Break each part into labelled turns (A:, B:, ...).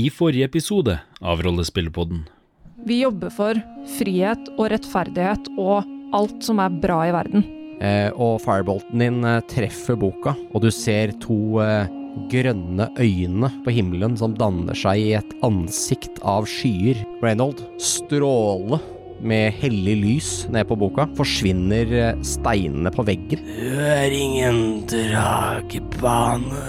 A: I forrige episode av Rollespillpodden
B: Vi jobber for frihet og rettferdighet og alt som er bra i verden.
C: Eh, og firebolten din eh, treffer boka, og du ser to eh, grønne øyne på himmelen som danner seg i et ansikt av skyer. Reynold, stråle med hellig lys ned på boka, forsvinner eh, steinene på veggen.
D: Du er ingen dragebane.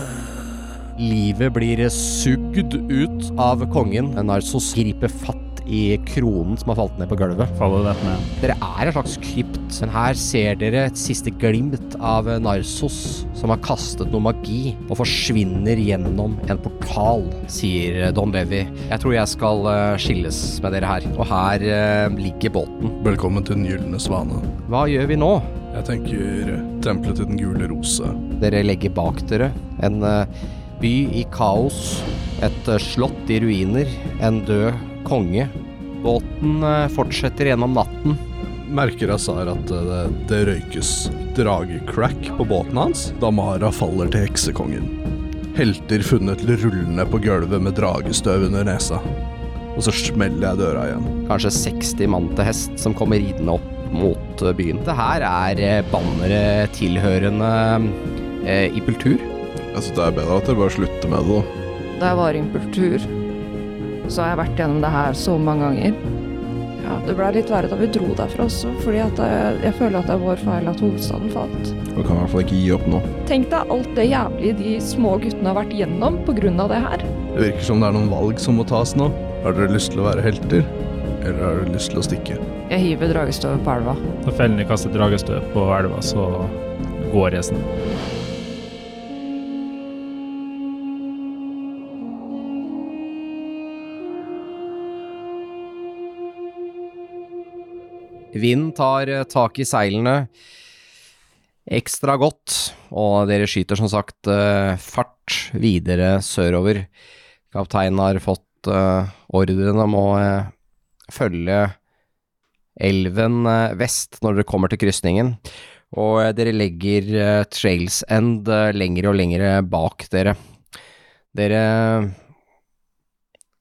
C: Livet blir eh, sugd ut av kongen. Narsos griper fatt i kronen som har falt ned på gulvet.
E: Follow that man.
C: Dere er en slags krypt, men her ser dere et siste glimt av Narsos, som har kastet noe magi og forsvinner gjennom en portal, sier eh, Don Levi. Jeg tror jeg skal eh, skilles med dere her, og her eh, ligger båten.
F: Velkommen til Den gylne svane.
C: Hva gjør vi nå?
F: Jeg tenker tempelet til Den gule rose.
C: Dere legger bak dere en eh, by i kaos, et eh, slott i ruiner, en død konge. Båten eh, fortsetter gjennom natten.
F: Merker Azar at eh, det, det røykes dragecrack på båten hans. Damara faller til heksekongen. Helter funnet rullende på gulvet med dragestøv under nesa. Og så smeller jeg døra igjen.
C: kanskje 60 mann til hest som kommer ridende opp mot eh, byen. Det her er eh, bannere tilhørende eh, Impultur.
F: Jeg synes det er bedre at dere bare slutter med det, da.
B: Da jeg var i impultur, så har jeg vært gjennom det her så mange ganger. Ja, Det blei litt verre da vi dro derfra også, fordi at jeg, jeg føler at det er vår feil at hovedstaden falt.
F: Du kan i hvert fall ikke gi opp nå.
B: Tenk deg alt det jævlige de små guttene har vært gjennom pga. det her.
F: Det virker som det er noen valg som må tas nå. Har dere lyst til å være helter? Eller har dere lyst til å stikke?
B: Jeg hiver dragestøvet på elva.
E: Når fellene kaster dragestøv på elva, så går resen.
C: Vinden tar eh, tak i seilene ekstra godt, og dere skyter som sagt eh, fart videre sørover. Kapteinen har fått eh, ordren om å eh, følge elven eh, vest når dere kommer til krysningen, og eh, dere legger eh, Trails End eh, lengre og lengre bak dere. Dere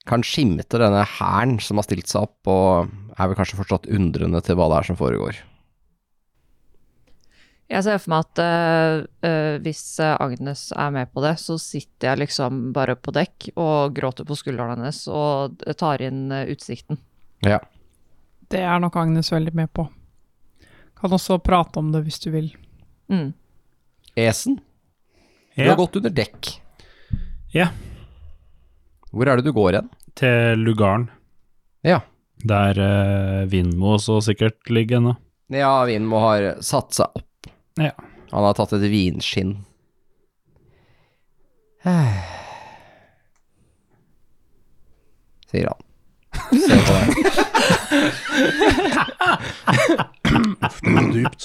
C: kan skimte denne hæren som har stilt seg opp, og er vel kanskje fortsatt undrende til hva det er som foregår.
B: Jeg ser for meg at eh, eh, hvis eh, Agnes er med på det, så sitter jeg liksom bare på dekk og gråter på skulderen hennes og tar inn eh, utsikten.
C: Ja.
G: Det er nok Agnes veldig med på. Kan også prate om det hvis du vil.
B: Mm.
C: Esen, du
E: Ja,
C: har gått under dekk.
E: Ja.
C: Hvor er det du går hen?
E: til lugaren.
C: Ja.
E: Der uh, Vindmo også sikkert ligger ennå.
C: Ja, Vinmo har satt seg opp.
E: Ja.
C: Han har tatt et vinskinn. Sier han. Se på deg.
F: Det er dypt.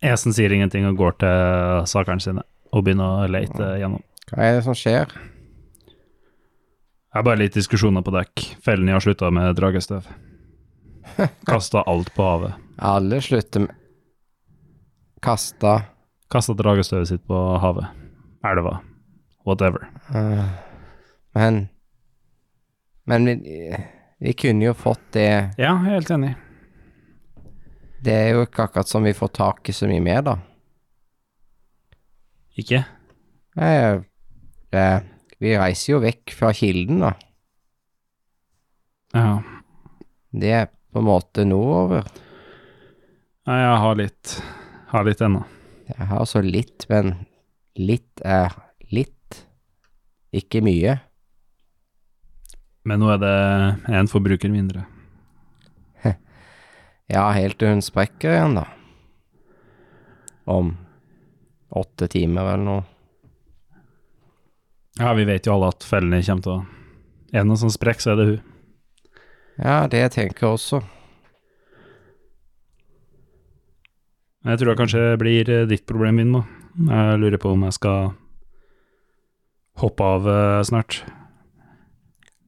E: Esen sier ingenting og går til sakerne sine og begynner å lete gjennom.
C: Hva er det som skjer?
E: Det er bare litt diskusjoner på dekk. Fellene har slutta med dragestøv. Kasta alt på havet.
C: Alle slutter med Kasta
E: Kasta dragestøvet sitt på havet. Elva. Whatever.
C: Eh, Men Men vi, vi kunne jo fått det
E: Ja, jeg er helt enig.
C: Det er jo ikke akkurat som vi får tak i så mye mer, da.
E: Ikke?
C: Eh, eh, vi reiser jo vekk fra kilden, da.
E: Ja.
C: Det er på en måte nordover.
E: Nei, jeg har litt Har litt ennå.
C: Jeg har så litt, men litt er litt. Ikke mye.
E: Men nå er det en forbruker mindre.
C: Ja, helt til hun sprekker igjen, da. Om åtte timer eller noe.
E: Ja, vi vet jo alle at fellene kommer til å Er det noen som sprekker, så er det hun.
C: Ja, det tenker jeg også.
E: Men jeg tror det kanskje blir eh, ditt problem, Vindmo. Jeg lurer på om jeg skal hoppe av eh, snart.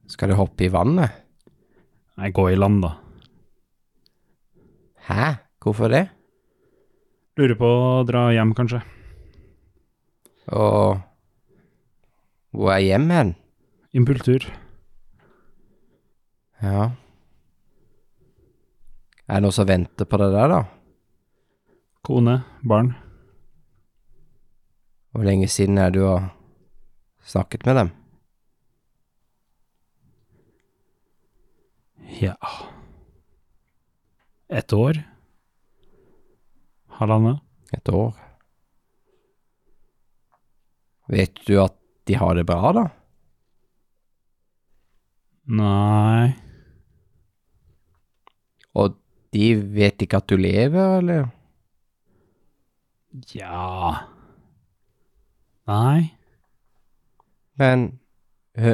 C: Skal du hoppe i vannet?
E: Nei, gå i land, da.
C: Hæ? Hvorfor det?
E: Lurer på å dra hjem, kanskje.
C: Og hvor er hjem hen?
E: Impultur.
C: Ja. Er det noe som venter på deg der, da?
E: Kone. Barn.
C: Hvor lenge siden er det du har snakket med dem?
E: Ja Et år? Halvannet?
C: Et år. Vet du at de har det bra, da?
E: Nei
C: Og de vet ikke at du lever, eller?
E: Ja Nei.
C: Men hø,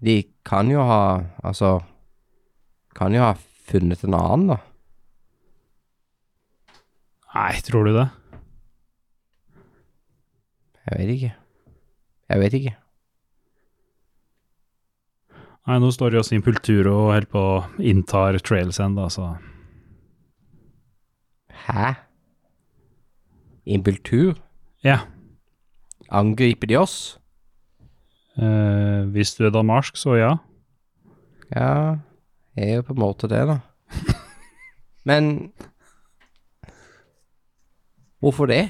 C: De kan jo ha Altså Kan jo ha funnet en annen, da.
E: Nei, tror du det?
C: Jeg vet ikke. Jeg vet ikke.
E: Nei, nå står jo også Impultur og holder på å inntar Trailsend, da, så
C: Hæ? Impultur?
E: Ja.
C: Angriper de oss?
E: Eh, hvis du er damarsk, så ja.
C: Ja, jeg er jo på en måte det, da. Men Hvorfor det?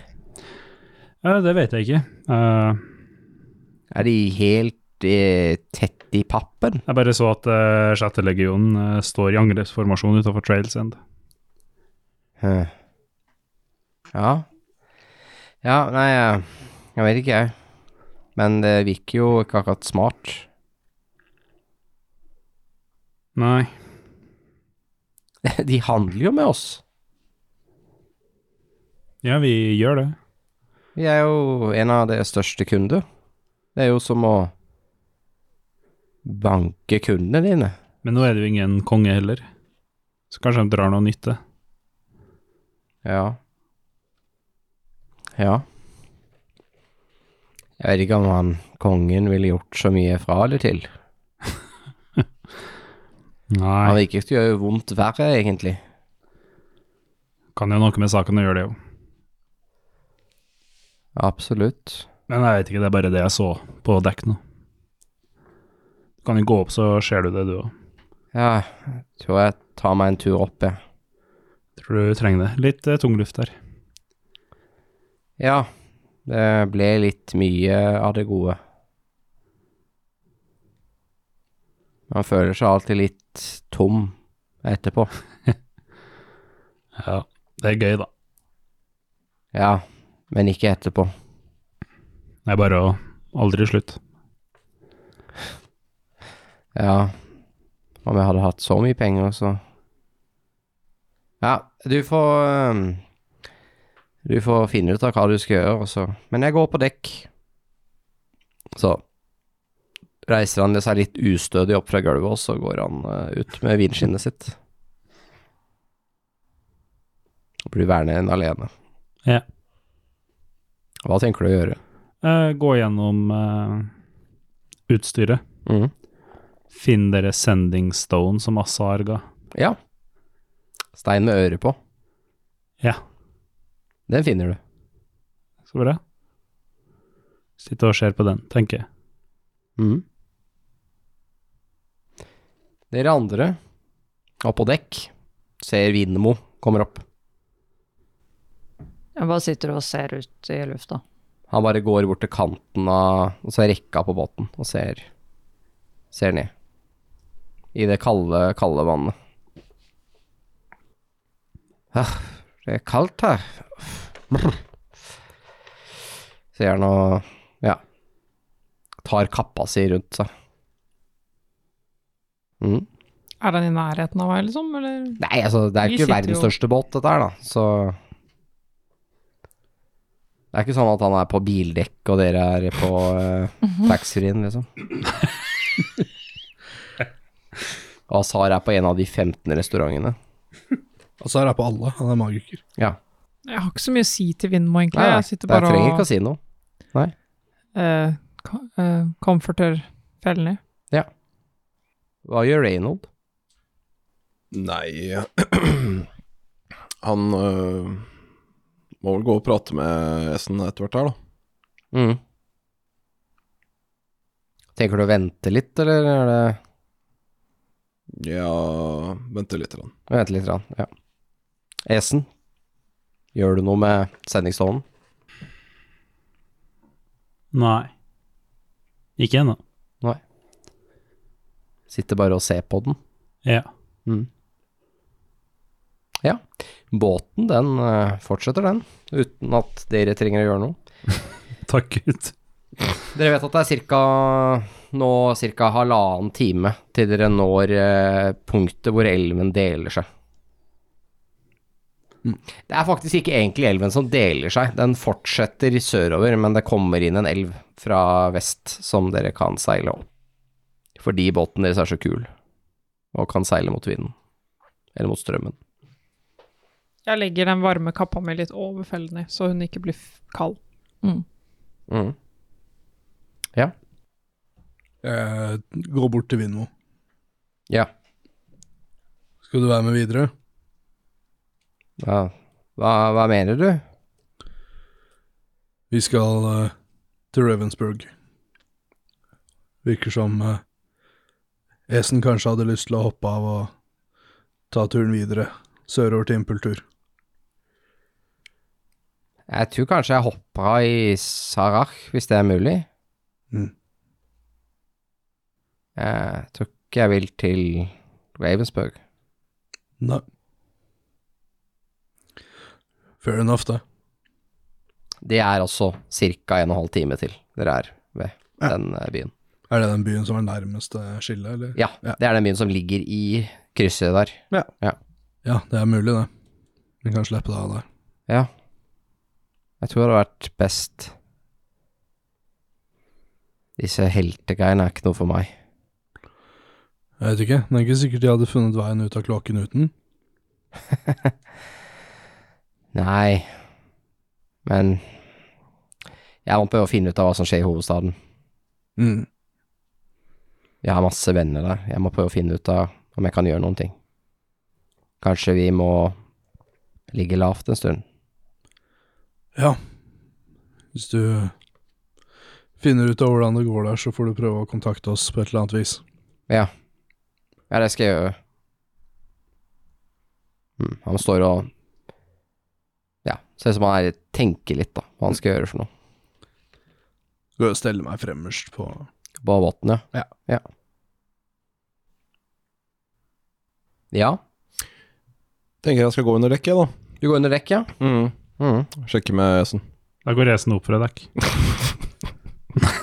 E: Eh, det vet jeg ikke. Eh,
C: Er de helt eh, tett i pappen?
E: jeg bare så at eh, sjette legionen eh, står i angrepsformasjon utenfor Trailsend.
C: Hm. Ja. Ja, nei, jeg- jeg vet ikke, jeg. Men det virker jo ikke akkurat smart.
E: Nei.
C: De handler jo med oss.
E: Ja, vi gjør det.
C: Vi er jo en av deres største kunder. Det er jo som å banke kundene dine.
E: Men nå er det jo ingen konge heller. Så kanskje de drar noe nytte.
C: Ja. Ja. Jeg vet ikke om han kongen ville gjort så mye fra eller til. Han
E: Nei.
C: virket jo gjøre vondt verre, egentlig.
E: Kan jo noe med saken å gjøre det, jo.
C: Absolutt.
E: Men jeg vet ikke, det er bare det jeg så på dekk nå. Du kan jo gå opp, så ser du det, du òg.
C: Ja, tror jeg tar meg en tur opp, jeg.
E: Tror du trenger det. Litt eh, tung luft der.
C: Ja, det ble litt mye av det gode. Man føler seg alltid litt tom etterpå.
E: Ja. Det er gøy, da.
C: Ja, men ikke etterpå.
E: Det er bare å aldri slutt.
C: Ja, om jeg hadde hatt så mye penger, så Ja, du får øhm, Du får finne ut av hva du skal gjøre, og så Men jeg går på dekk. Så reiser han seg litt ustødig opp fra gulvet, og så går han øh, ut med vinskinnet sitt. Og blir værende igjen alene.
E: Ja.
C: Hva tenker du å gjøre?
E: Eh, gå gjennom eh, utstyret.
C: Mhm.
E: Finn dere sending stone som Assar ga.
C: Ja. Stein med øre på.
E: Ja.
C: Den finner du.
E: Så bra. Sitte og ser på den, tenker jeg.
C: Mm. Dere andre, oppå dekk, ser Vindemo kommer opp.
B: Jeg bare sitter og ser ut i lufta.
C: Han bare går bort til kanten av Og så er rekka på båten, og ser Ser ned. I det kalde, kalde vannet. Ah, det er kaldt her. Brr. Sier han og ja. Tar kappa si rundt seg. Mm.
G: Er den i nærheten av meg, liksom? Eller?
C: Nei, altså, det er
G: Vi
C: ikke
G: sitter
C: verdens
G: jo-
C: største båt, dette her, da, så Det er ikke sånn at han er på bildekk, og dere er på uh,
G: Mhm.
C: taxfree-en, liksom. og Azar er på en av de 15 restaurantene.
F: Og så er jeg på alle. Han er magiker.
G: Jeg har ikke så mye å si til Vindmo, egentlig.
C: Nei,
G: jeg sitter
C: der
G: bare
C: trenger
G: og
C: ikke å si noe.
G: eh, ka- eh, comforter fellene.
C: Hva gjør Reynold?
H: Nei eh, Han øh, må vel gå og prate med Essen etter hvert her, da.
C: Mm. Tenker du å vente litt, eller er det
F: Ja Vente litt. Rann.
C: Vente litt, grann, ja. Esen, gjør du noe med sendingstålen?
E: Nei. Ikke ennå.
C: Sitter bare og ser på den.
E: Ja.
C: Båten, den eh, fortsetter, den. Uten at dere trenger å gjøre noe.
E: Takk, gutt.
C: Dere vet at det er cirka, nå ca. halvannen time til dere når eh, punktet hvor elven deler seg. Det er faktisk ikke egentlig elven som deler seg. Den fortsetter sørover, men det kommer inn en elv fra vest som dere kan seile opp. Fordi båten deres er så kul og kan seile mot vinden. Eller mot strømmen.
G: Jeg legger den varme kappa mi litt over fellene, så hun ikke blir f- kald.
C: Mm.
F: Jeg går Eh, bort til Vindmo.
C: Ja.
F: Skal du være med videre?
C: Hva, hva, hva mener du?
F: Vi skal eh, til Ravensburg. Virker som eh, Esen kanskje hadde lyst til å hoppe av og ta turen videre sørover til Impultur.
C: Jeg tror kanskje jeg hoppa i Sarach, hvis det er mulig.
F: Mm.
C: Jeg tror ikke jeg vil til Ravensburg.
F: Nei. Fair enough, det.
C: Det er også ca. en og en halv time til dere er ved
F: Ja.
C: den eh, byen.
F: Er det den byen som er nærmest eh, skillet, eller?
C: Ja,
F: Ja.
C: det er den byen som ligger i krysset der.
F: Ja, det er mulig, det. Vi kan slippe deg av der.
C: Ja. Jeg tror det hadde vært best. Disse heltegreiene er ikke noe for meg.
F: Jeg vet ikke, det er ikke sikkert de hadde funnet veien ut av kloakken uten.
C: Nei, men jeg må prøve å finne ut av hva som skjer i hovedstaden.
F: Mm.
C: Jeg har masse venner der. Jeg må prøve å finne ut av om jeg kan gjøre noen ting. Kanskje vi må ligge lavt en stund.
F: Ja. Hvis du finner ut av hvordan det går der, så får du prøve å kontakte oss på et eller annet vis.
C: Ja, det skal jeg gjøre. Mm, han står og Ja, ser ut som han er, tenker litt, da, hva han skal gjøre for noe.
F: Skal jeg stelle meg fremmerst på
C: På båten,
F: Ja.
C: ja. Ja,
H: Tenker jeg skal gå under dekk, jeg, da.
C: du går under dekk, ja? Mm.
H: Sjekke med Esen.
E: Da går resen opp for deg, Dekk.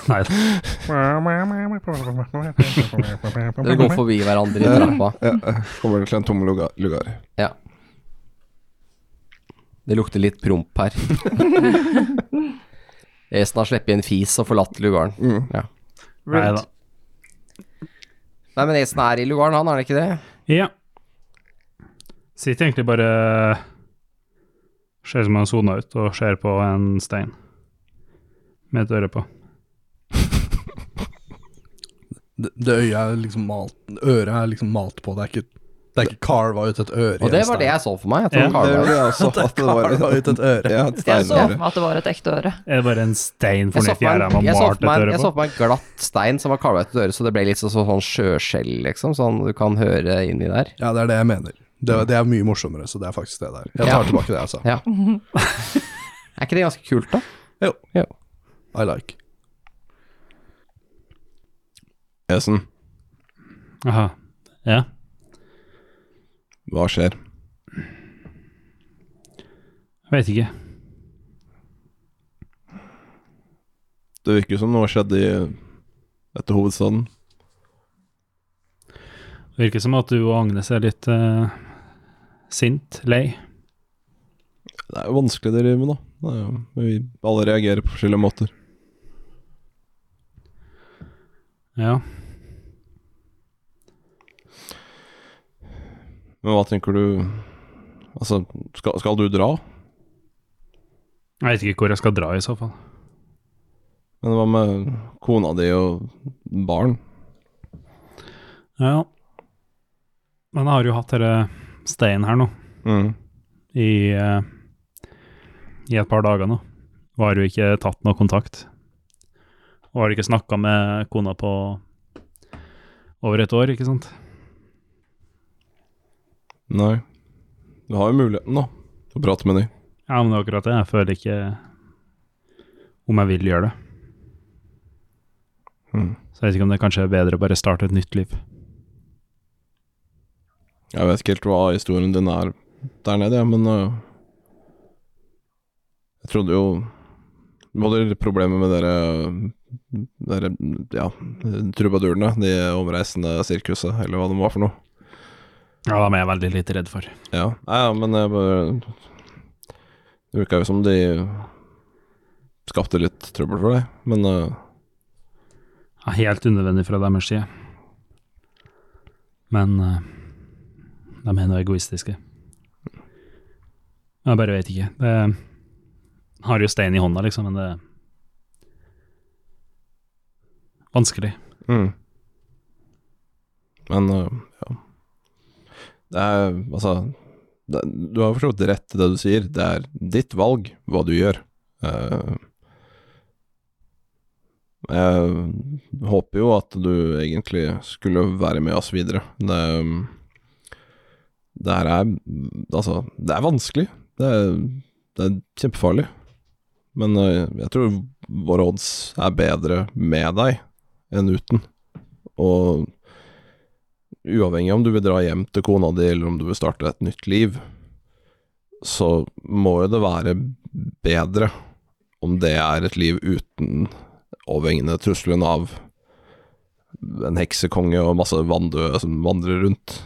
E: Nei da.
C: Dere går forbi hverandre i trappa.
H: Ja, jeg kommer til en tom lugar. lugar.
C: Det lukter litt promp her. Resten har sluppet inn fis og forlatt lugaren.
H: Mm.
E: Nei da.
C: Nei, men Esen er i lugaren, han, er det ikke det?
E: Ja. Sitter egentlig bare Ser ut som han sona ut og ser på en stein med et øre på.
F: Det, det øyet er liksom malt Øret er liksom malt på, det er ikke Det er ikke carva ut et øre. i
C: Og
F: en
C: det var
F: stein.
C: det jeg så for meg. Jeg
E: Ja.
C: tror
H: Det
C: Karl var
H: gjorde jeg også. At det var
F: Carva ut et øre.
H: ja, et
B: Jeg så for
H: steinøre.
B: meg at det var et ekte øre.
E: Er det bare en stein
C: jeg så
E: fornuftig
C: for
E: her
C: meg,
E: man
C: jeg så
E: malte
C: for meg,
E: et
C: jeg
E: øre på?
C: så for meg en glatt stein som var karva ut døra, så det ble litt sånn, sånn sjøskjell, liksom, sånn du kan høre inni der.
F: Ja, det er det jeg mener. Det, det er mye morsommere, så det er faktisk det der. Jeg tar
C: Ja.
F: tilbake det jeg sa.
C: Ja. Er ikke det ganske kult, da?
F: Jo.
C: Jo.
F: I like.
H: Esen,
E: Aha. Ja.
H: hva skjer?
E: Vet ikke.
H: Det virker jo som noe skjedde i etter hovedstaden.
E: Virker som at du og Agnes er litt eh, sint, lei.
H: Det er jo vanskelig det driver med, da. Det er jo, vi alle reagerer på forskjellige måter.
E: Ja.
H: Men hva tenker du Altså, skal, skal du dra?
E: Jeg vet ikke hvor jeg skal dra i så fall.
H: Men hva med kona di og barn?
E: Ja. Men jeg har jo hatt denne steinen her nå
H: Mm.
E: i, eh, i et par dager nå. Og har jo ikke tatt noe kontakt. Og har ikke snakka med kona på over et år, ikke sant?
H: Nei. Du har jo muligheten, da, til å prate med dem.
E: Ja, men det er akkurat det. Jeg føler ikke om jeg vil gjøre det.
H: Mhm.
E: Så jeg vet ikke om det kanskje er bedre å bare starte et nytt liv.
H: Jeg vet ikke helt hva historien din er der nede, jeg, men øh, Jeg trodde jo Både problemet med dere Dere, ja, trubadurene, de omreisende sirkuset, eller hva det var for noe.
E: Ja, dem er jeg veldig litt redd for.
H: Ja, Nei, ja men jeg bare Det virka jo som de skapte litt trøbbel for deg, men øh,
E: Ja, helt unødvendig fra deres side. Men eh, de er noe egoistiske. Jeg bare vet ikke. Det har jo stein i hånda, liksom, men det er vanskelig.
H: Mm. Men øh, ja Det er altså det, Du har forstått rett i det du sier. Det er ditt valg hva du gjør. Eh, jeg håper jo at du egentlig skulle være med oss videre. Det, det her er Altså, det er vanskelig. Det er, det er kjempefarlig. Men øh, jeg tror våre odds er bedre med deg enn uten. Og uavhengig om du vil dra hjem til kona di, eller om du vil starte et nytt liv, så må jo det være bedre om det er et liv uten overhengende trusselen av en heksekonge og masse vanndøde som vandrer rundt.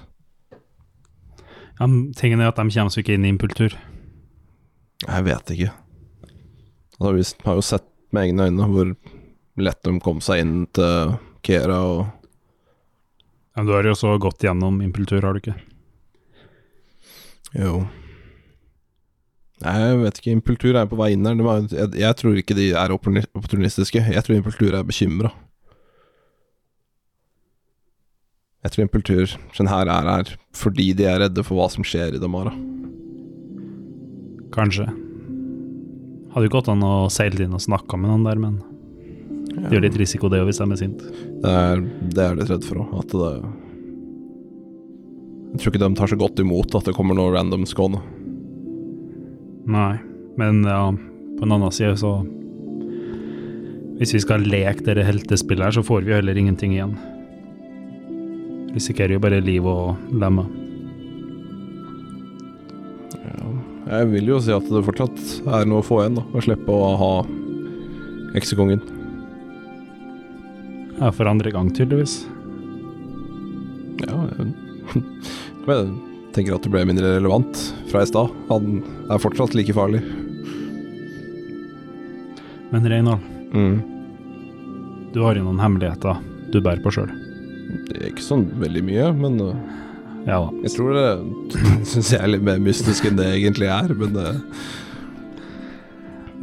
E: Ja, men tingen er at de kommer seg ikke inn i en kultur.
H: Jeg vet ikke. Altså, vi har jo sett med egne øyne hvor lett de kom seg inn til Kera og
E: Ja, men du har jo også gått gjennom impultur, har du ikke?
H: Jo. Nei, jeg vet ikke. Impultur er på vei inn der. De er- Jeg, jeg tror ikke de er opportuni- opportunistiske. Jeg tror impultur er bekymra. Jeg tror impultur sånn her er her fordi de er redde for hva som skjer i Damara.
E: Kanskje. Hadde jo gått an å seile inn og snakke med noen der, men det er jo litt risiko det, hvis de er sint.
H: Det er det er litt redd for òg. At det Jeg tror ikke de tar så godt imot at det kommer noe random skåne.
E: Nei, men ja, på den annen side så Hvis vi skal leke dere heltespillet her, så får vi jo heller ingenting igjen. Risikerer jo bare liv og lemmer.
H: Jeg vil jo si at det fortsatt er noe å få igjen, da. Å slippe å ha heksekongen.
E: Ja, for andre gang, tydeligvis.
H: Ja, jeg, jeg tenker at det ble mindre relevant fra i stad. Han er fortsatt like farlig.
E: Men Reynold, du har jo noen hemmeligheter du bærer på sjøl.
H: Det er ikke sånn veldig mye, men øh,
E: Ja da.
H: jeg tror det syns jeg er litt mer mystisk enn det egentlig er. Men eh, det,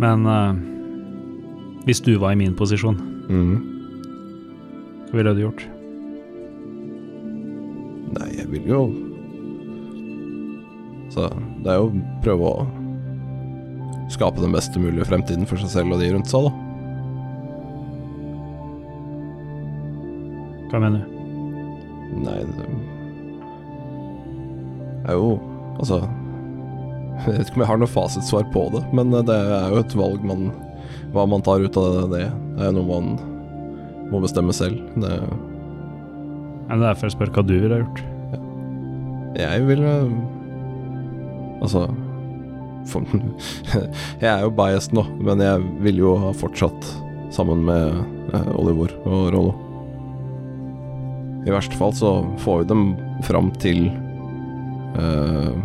E: Men eh, hvis du var i min posisjon, hva ville du gjort?
H: Nei, jeg vil jo Så det er jo å prøve å skape den beste mulige fremtiden for seg selv og de rundt seg, da.
E: Hva mener du?
H: Nei, det er jo Altså Jeg vet ikke om jeg har noe fasitsvar på det, men eh, det er jo et valg man Hva man tar ut av det, det er jo noe man må bestemme selv. Det,
E: Ja, Det er derfor jeg spør hva du ville gjort.
H: jeg vil eh, Altså for, Jeg er jo biased nå, men jeg vil jo ha fortsatt sammen med eh, Oliver og Rollo. I verste fall så får vi dem fram til eh,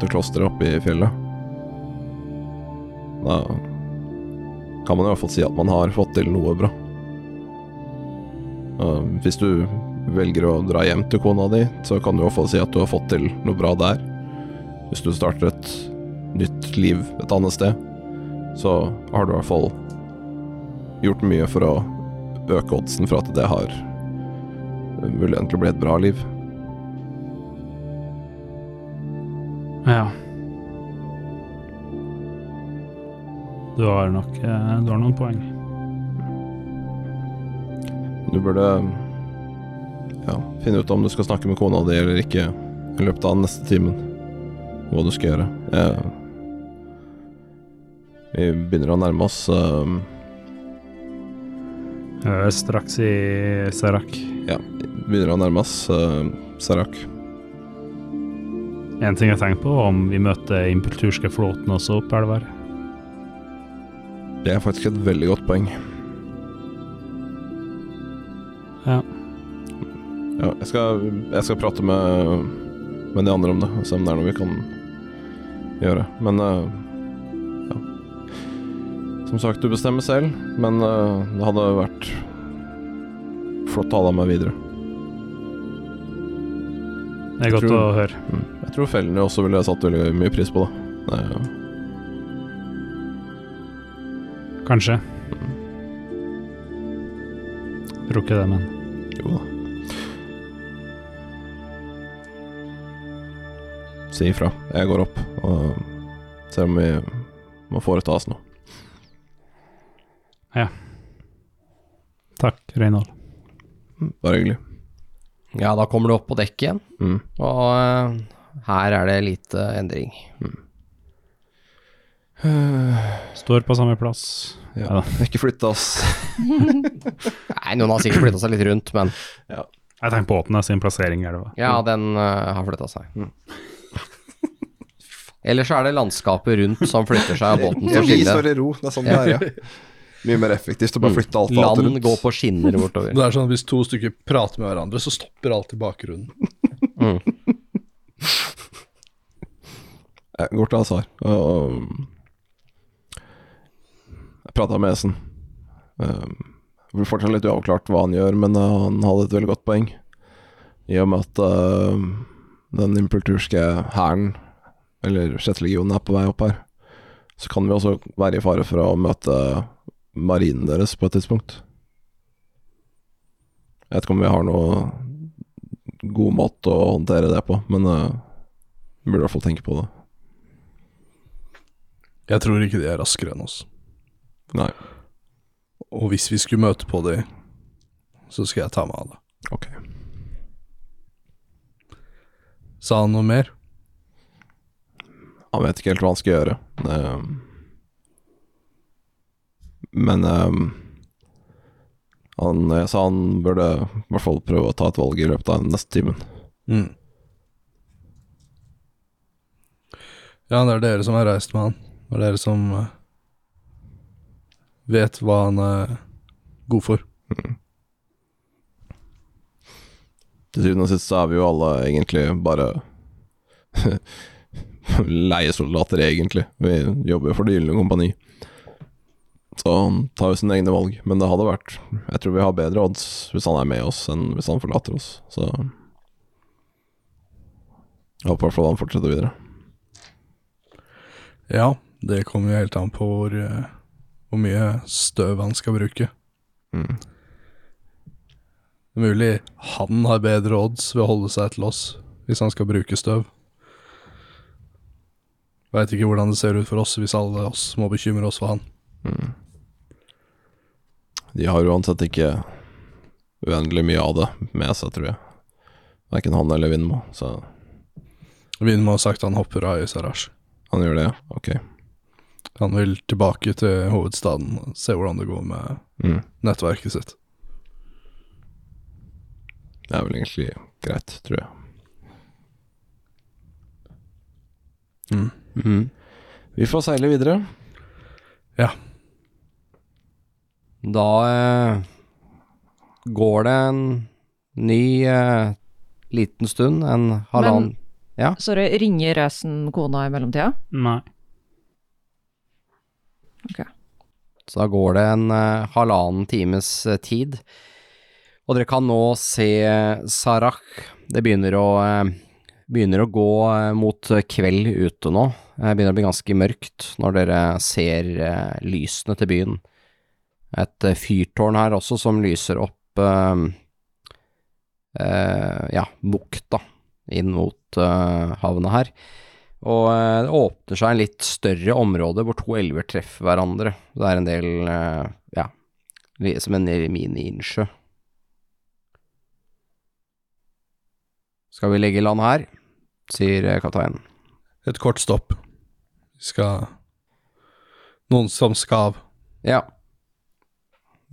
H: Til klosteret oppe i fjellet. Da kan man i hvert fall si at man har fått til noe bra. Eh, hvis du velger å dra hjem til kona di, så kan du i hvert fall si at du har fått til noe bra der. Hvis du starter et nytt liv et annet sted, så har du i hvert fall gjort mye for å øke oddsen for at det har muligheten til å bli et bra liv.
E: Ja. Du har nok eh, Du har noen poeng.
H: Du burde ja, finne ut om du skal snakke med kona di eller ikke i løpet av den neste timen. Hva du skal gjøre. Jeg, vi begynner å nærme oss eh,
E: Eh, Straks i Serak.
H: Begynner å nærme oss uh, Sarak.
E: En ting jeg tenkte på, var om vi møter impulturske flåten også opp elva. her.
H: Det er faktisk et veldig godt poeng.
E: Ja.
H: Ja, jeg skal, jeg skal prate med, med de andre om det, og se om det er noe vi kan gjøre. Men eh, ja. Som sagt, du bestemmer selv, men eh, det hadde vært flott å ha deg med videre.
E: Det er godt
H: Tror-
E: å høre.
H: Mm. Jeg tror fellene også ville satt veldig mye pris på det. det er,
E: Kanskje. Tror ikke det, men
H: jo da. Si ifra. Jeg går opp og ser om vi må foreta oss noe.
E: takk, Reynold.
H: Bare hyggelig.
C: Ja, da kommer du opp på dekket igjen,
H: Mm.
C: og eh, her er det lite endring.
E: Står på samme plass.
H: Ja.
E: Ja.
H: Ikke flytte oss.
C: Nei, noen har sikkert flytta seg litt rundt, men
E: Jeg tenker på Åpne sin plassering i elva.
C: ja, den eh, har flytta seg. Ellers er det landskapet rundt som flytter seg, og båten står
H: vi
C: stille.
H: står i ro. Det er sånn det er, ja. Mye mer effektivt å bare flytte alt annet
C: Land
H: rundt.
C: går på skinner bortover.
F: Det er sånn at Hvis to stykker prater med hverandre, så stopper alt i bakgrunnen.
H: Jeg går til Azar og og- Jeg prata med Esen. Um, Det blir fortsatt litt uavklart hva han gjør, men uh, han hadde et veldig godt poeng. I og med at uh, den impulturske hæren, eller sjette legionen, er på vei opp her, så kan vi også være i fare for å møte eh, marinen deres på et tidspunkt. Jeg vet ikke om vi har noe god måte å håndtere det på, men uh, vi burde i hvert fall tenke på det.
F: Jeg tror ikke de er raskere enn oss.
H: Nei.
F: Og hvis vi skulle møte på de, så skal jeg ta meg av det.
H: Ok.
F: Sa han noe mer?
H: Han vet ikke helt hva han skal gjøre. Det- Men ehm, han, jeg sa han burde i hvert fall prøve å ta et valg i løpet av den neste timen.
F: Mm. Ja, det er dere som har reist med han. Det er dere som eh, vet hva han er god for.
H: Til syvende og sist så er vi jo alle egentlig bare leiesoldater, egentlig. Vi jobber jo for Det gylne kompani. Så han tar jo sine egne valg, men det hadde vært Jeg tror vi har bedre odds hvis han er med oss, enn hvis han forlater oss, så Jeg håper i hvert fall han fortsetter videre.
F: Ja, det kommer jo helt an på hvor, eh, hvor mye støv han skal bruke.
H: Mm.
F: Det er mulig han har bedre odds ved å holde seg til oss, hvis han skal bruke støv. Veit ikke hvordan det ser ut for oss hvis alle oss må bekymre oss for han.
H: De har uansett ikke uendelig mye av det med seg, tror jeg. Verken han eller Vindmo, så
F: Vin må ha sagt han hopper av i Sarash.
H: han gjør det, ja. Ok.
F: Han vil tilbake til hovedstaden og se hvordan det går med
H: Mm.
F: nettverket sitt.
H: Det er vel egentlig greit, tror jeg.
F: Mm.
H: Vi får seile videre.
C: Da eh, går det en ny eh, liten stund, en halvannen
B: Sorry, ringer Racen kona i mellomtida?
E: Nei.
C: Så da går det en eh, halvannen times eh, tid. Og dere kan nå se eh, Sarak. Det begynner å, eh, begynner å gå eh, mot eh, kveld ute nå. Eh, Det begynner å bli ganske mørkt når dere ser eh, lysene til byen. Et eh, fyrtårn her også som lyser opp eh, eh, ja, bukta inn mot eh, havna her. Og eh, det åpner seg en litt større område hvor to elver treffer hverandre. Det er en del eh, ja, li- som en mini-innsjø Skal vi legge i land her? sier eh, kapteinen.
F: Et kort stopp. Vi skal Noen som skal av.
C: Ja,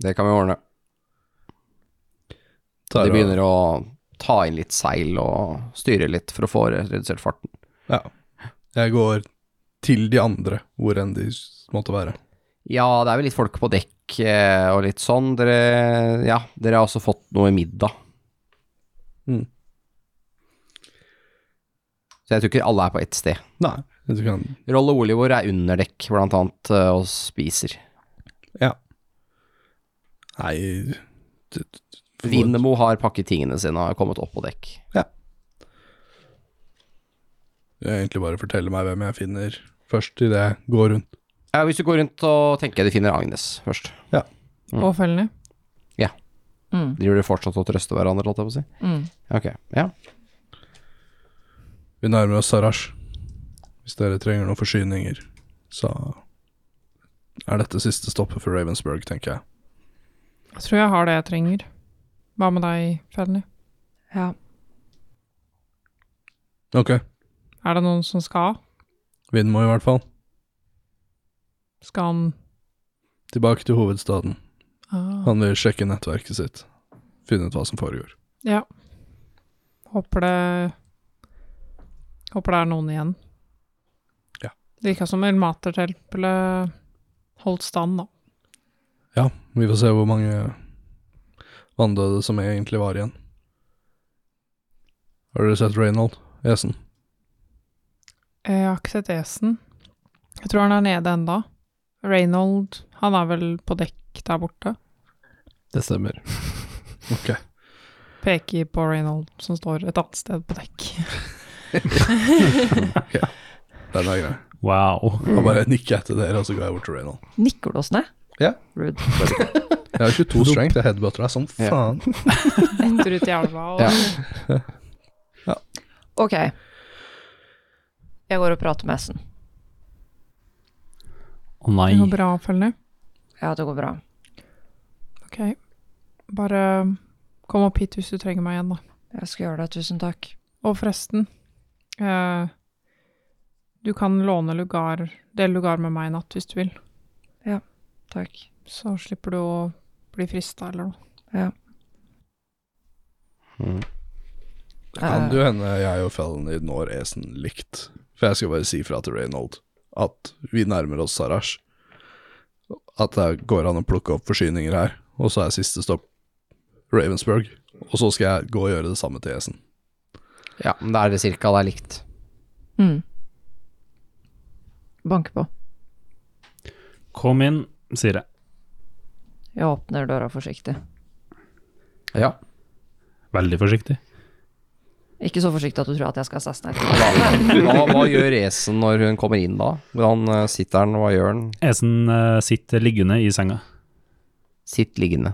C: det kan vi ordne.
F: Tar
C: De
F: og-
C: begynner å ta inn litt seil og styre litt for å få redusert farten.
F: Ja. Jeg går til de andre, hvor enn de s- måtte være.
C: Ja, det er vel litt folk på dekk eh, og litt sånn. Dere, ja, dere har også fått noe middag.
F: Mm.
C: Så jeg tror ikke alle er på ett sted.
F: Nei. Du kan
C: Roll og Olivor er under dekk, blant annet, eh, og spiser.
F: Ja. Nei du- du- du-
C: Vindemo har pakket tingene sine og har kommet opp på dekk.
F: Jeg egentlig bare fortelle meg hvem jeg finner først, idet jeg går rundt.
C: Ja, hvis du går rundt og tenker du finner Agnes først. Mm.
G: Påfølgende.
C: Ja.
G: Mm.
C: Driver dere fortsatt og trøster hverandre, holdt jeg på å si?
G: Mm.
C: Ok, ja.
F: Vi nærmer oss Sarash. Hvis dere trenger noen forsyninger, så er dette siste stoppet for Ravensburg, tenker jeg.
G: Jeg tror jeg har det jeg trenger. Hva med deg, Fanny?
B: Ja.
F: Ok,
G: Er det noen som skal?
F: vinden må i hvert fall.
G: Skal han
F: Tilbake til hovedstaden.
G: ah.
F: Han vil sjekke nettverket sitt. Finne ut hva som foregår.
G: Ja. Håper det Håper det er noen igjen.
F: Ja.
G: Det virka som Elmatertempelet holdt stand, da.
F: Ja, vi får se hvor mange vanndøde som egentlig var igjen. Har dere sett Reynold? Esen?
G: Jeg har ikke sett Esen. Jeg tror han er nede enda. Reynold, han er vel på dekk der borte.
H: Det stemmer.
F: Ok.
G: Peker på Reynold, som står et annet sted på dekk.
F: Den er grei.
E: Wow.
F: Da bare nikker jeg til dere, og så går jeg bort til Reynold.
B: Nikker du oss ned?
F: Ja.
B: Rude.
F: Jeg har 22 strength, jeg headbutter deg som
C: Ja.
F: faen.
G: Etter ut i elva og
C: Ja.
B: Ok. Jeg går og prater med Essen.
A: Å nei.
G: Det går bra, følgende.
B: Ja, det går bra.
G: Ok. Bare um, kom opp hit hvis du trenger meg igjen, da.
B: Jeg skal gjøre det, tusen takk.
G: Og forresten, eh, du kan låne lugar, dele lugar med meg i natt hvis du vil.
B: Takk.
G: Så slipper du å bli frista eller noe.
F: Det
B: Eh,
F: kan jo hende jeg og Felony når Esen likt. For jeg skal bare si fra til Reynold at vi nærmer oss Sarash. At det går an å plukke opp forsyninger her. Og så er siste stopp Ravensburg. Og så skal jeg gå og gjøre det samme til Esen.
C: Ja, men da er det cirka der likt.
B: Mm. Banke på.
E: Kom inn, sier jeg.
B: Jeg åpner døra forsiktig.
C: Ja.
E: Veldig forsiktig.
B: Ikke så forsiktig at du tror at jeg skal assassinere.
C: Hva, hva, hva gjør Esen når hun kommer inn da? Hvordan eh, sitter han, hva gjør han?
E: Esen eh, sitter liggende i senga.
C: Sitt liggende.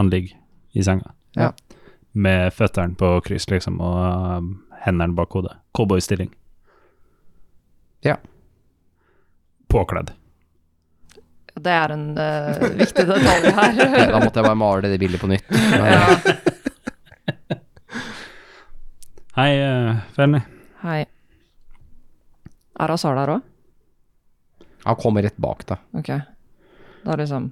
E: Han ligger i senga.
C: Ja.
E: Med føttene på kryss, liksom, og um, hendene bak hodet. Cowboystilling.
C: Ja.
E: Påkledd.
B: Det er en eh, viktig detalj her.
C: Ok, da måtte jeg bare male det bildet på nytt. Men,
B: ja.
E: Hei, uh, Fanny.
B: Hei. Er Azar der òg?
C: han kommer rett bak deg.
B: Ok. Da liksom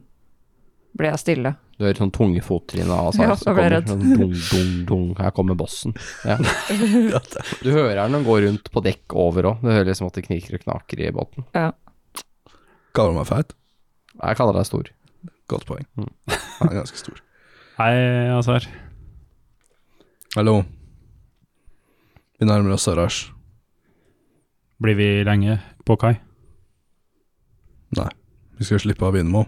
B: blir jeg stille.
C: Du hører sånn tunge fottryne av
B: Ja,
C: Sars.
B: da ble jeg redd.
C: Sånn dung, dung, dung. Her kommer bossen. Ja. Du hører han gå rundt på dekk over òg. Du hører liksom at det kniker og knaker i båten.
F: Kaller du meg feit?
C: Jeg kaller deg stor.
F: Godt poeng. Han er ganske stor.
E: Hei, Azar.
F: Hallo. Vi nærmer oss Sarash.
E: Blir vi lenge på kai?
F: Nei, vi skal slippe av Vindmo.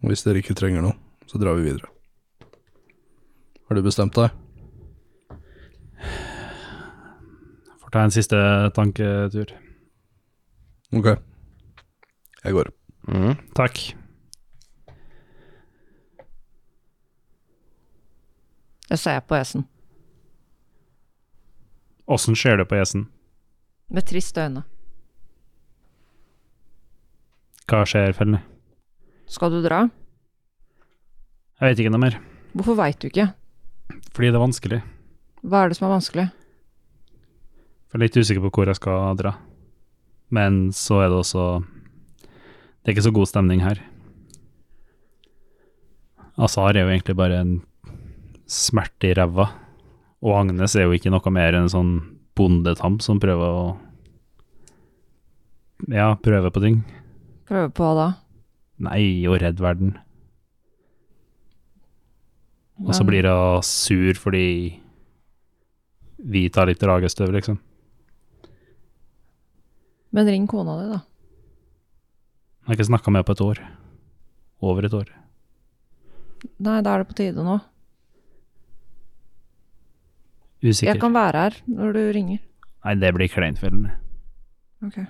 F: Og hvis dere ikke trenger noe, så drar vi videre. Har du bestemt deg?
E: Får ta en siste tanketur.
F: Ok. Jeg går.
C: Mm.
E: Takk.
B: Jeg ser på Esen
E: Åssen ser det på Esen?
B: med triste øyne.
E: Hva skjer, Fanny?
B: Skal du dra?
E: Jeg vet ikke noe mer.
B: Hvorfor veit du ikke?
E: Fordi det er vanskelig.
B: Hva er det som er vanskelig?
E: For jeg er litt usikker på hvor jeg skal dra. Men så er det også Det er ikke så god stemning her. Azar er jo egentlig bare en smerte i ræva. Og Agnes er jo ikke noe mer enn en sånn bondetamp som prøver å Ja, prøver på ting.
B: Prøve på hva da?
E: Nei, og redd verden. Og så
B: Men-
E: blir hun sur fordi vi tar litt dragestøv, liksom.
B: Men ring kona di, da.
E: Jeg har ikke snakka med henne på et år. Over et år.
B: Nei, da er det på tide nå.
E: Usikker.
B: Jeg kan være her når du ringer.
E: Nei, det blir kleint for henne.
B: Ok.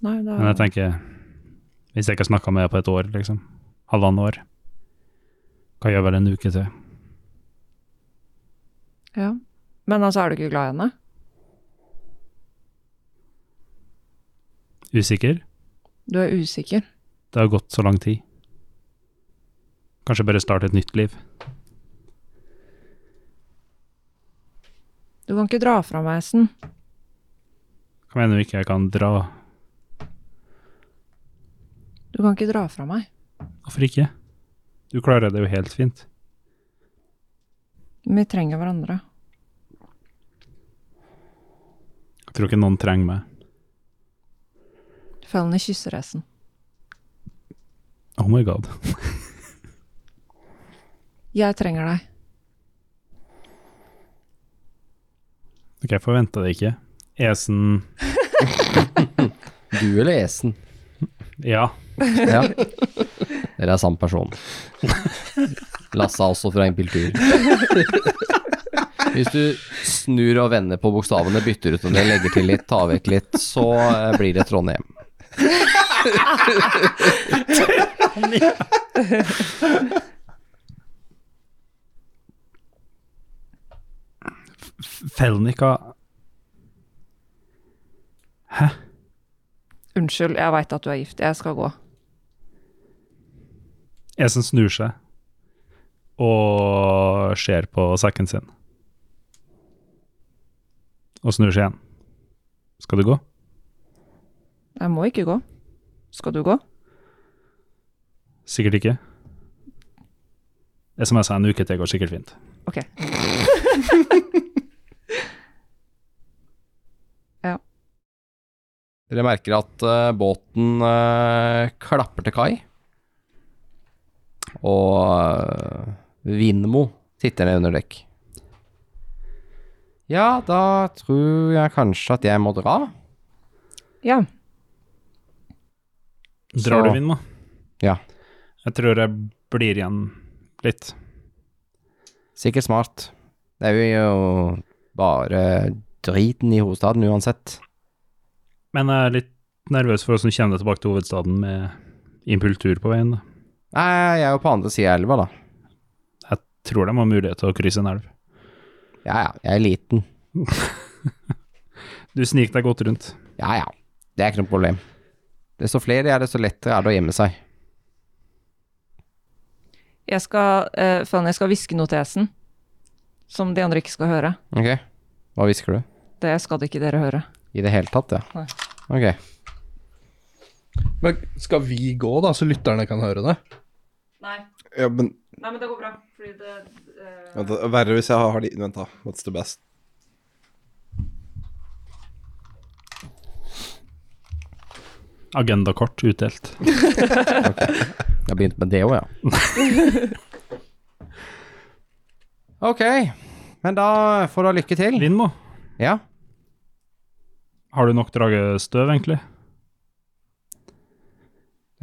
B: Nei, da
E: Men jeg tenker, hvis jeg ikke har snakka med henne på et år, liksom, halvannet år, hva gjør vel en uke til?
B: Ja. Men altså, er du ikke glad i henne?
E: Usikker?
B: Du er usikker.
E: Det har gått så lang tid. Kanskje bare starte et nytt liv.
B: Du kan ikke dra fra meg, Esten.
E: Hva mener du ikke jeg kan dra?
B: Du kan ikke dra fra meg.
E: Hvorfor ikke? Du klarer det jo helt fint.
B: Vi trenger hverandre.
E: Jeg tror ikke noen trenger meg.
B: Følg henne i kyssereisen.
E: Oh my god.
B: Jeg trenger deg.
E: Ok, jeg forventa det ikke. Esen
C: Du eller Esen?
E: Ja,
C: Ja. Dere er samme person. Lasse er også fra impultur. Hvis du snur og vender på bokstavene, bytter ut en del, legger til litt, tar vekk litt, så eh, blir det Trondheim.
E: Felnica
B: Unnskyld, jeg veit at du er gift. Jeg skal gå.
E: Esen snur seg og ser på sekken sin. Og snur seg igjen. Skal du gå?
B: Jeg må ikke gå. Skal du gå?
E: Sikkert ikke. Det er som jeg sa, en uke til går sikkert fint.
B: Ok.
C: Dere merker at eh, båten eh, klapper til kai. Og eh, Vindmo titter ned under dekk. Ja, da tror jeg kanskje at jeg må dra.
B: Ja.
E: Drar
C: Så-
E: du, Vindmo?
C: Ja.
E: Jeg tror jeg blir igjen litt.
C: Sikkert smart. Det er jo bare driten i hovedstaden uansett.
E: Men jeg er litt nervøs for hvordan kommer det tilbake til hovedstaden med impultur på veien. da.
C: Nei, jeg er jo på andre sida av elva, da.
E: Jeg tror de har mulighet til å krysse en elv.
C: Ja ja, jeg er liten.
E: Du sniker deg godt rundt.
C: Ja ja, det er ikke noe problem. Desto flere de er, desto lettere er det å gjemme seg.
B: Jeg skal, eh, Fanny, jeg skal hviske noe til Esen, som de andre ikke skal høre.
C: Ok, hva hvisker du?
B: Det skal ikke dere høre.
C: I det hele tatt, ja.
B: Nei.
C: Ok.
F: Men skal vi gå, da, så lytterne kan høre det?
B: Nei,
H: Ja, men
B: Nei men det går bra. Fordi det
H: vent da, Verre hvis jeg har de Vent, da. What's the best?
E: Agendakort utdelt.
C: Jeg begynte med det òg, ja. ok, men da får du ha lykke til.
E: Vindmo,
C: Ja,
E: har du nok dragestøv, egentlig?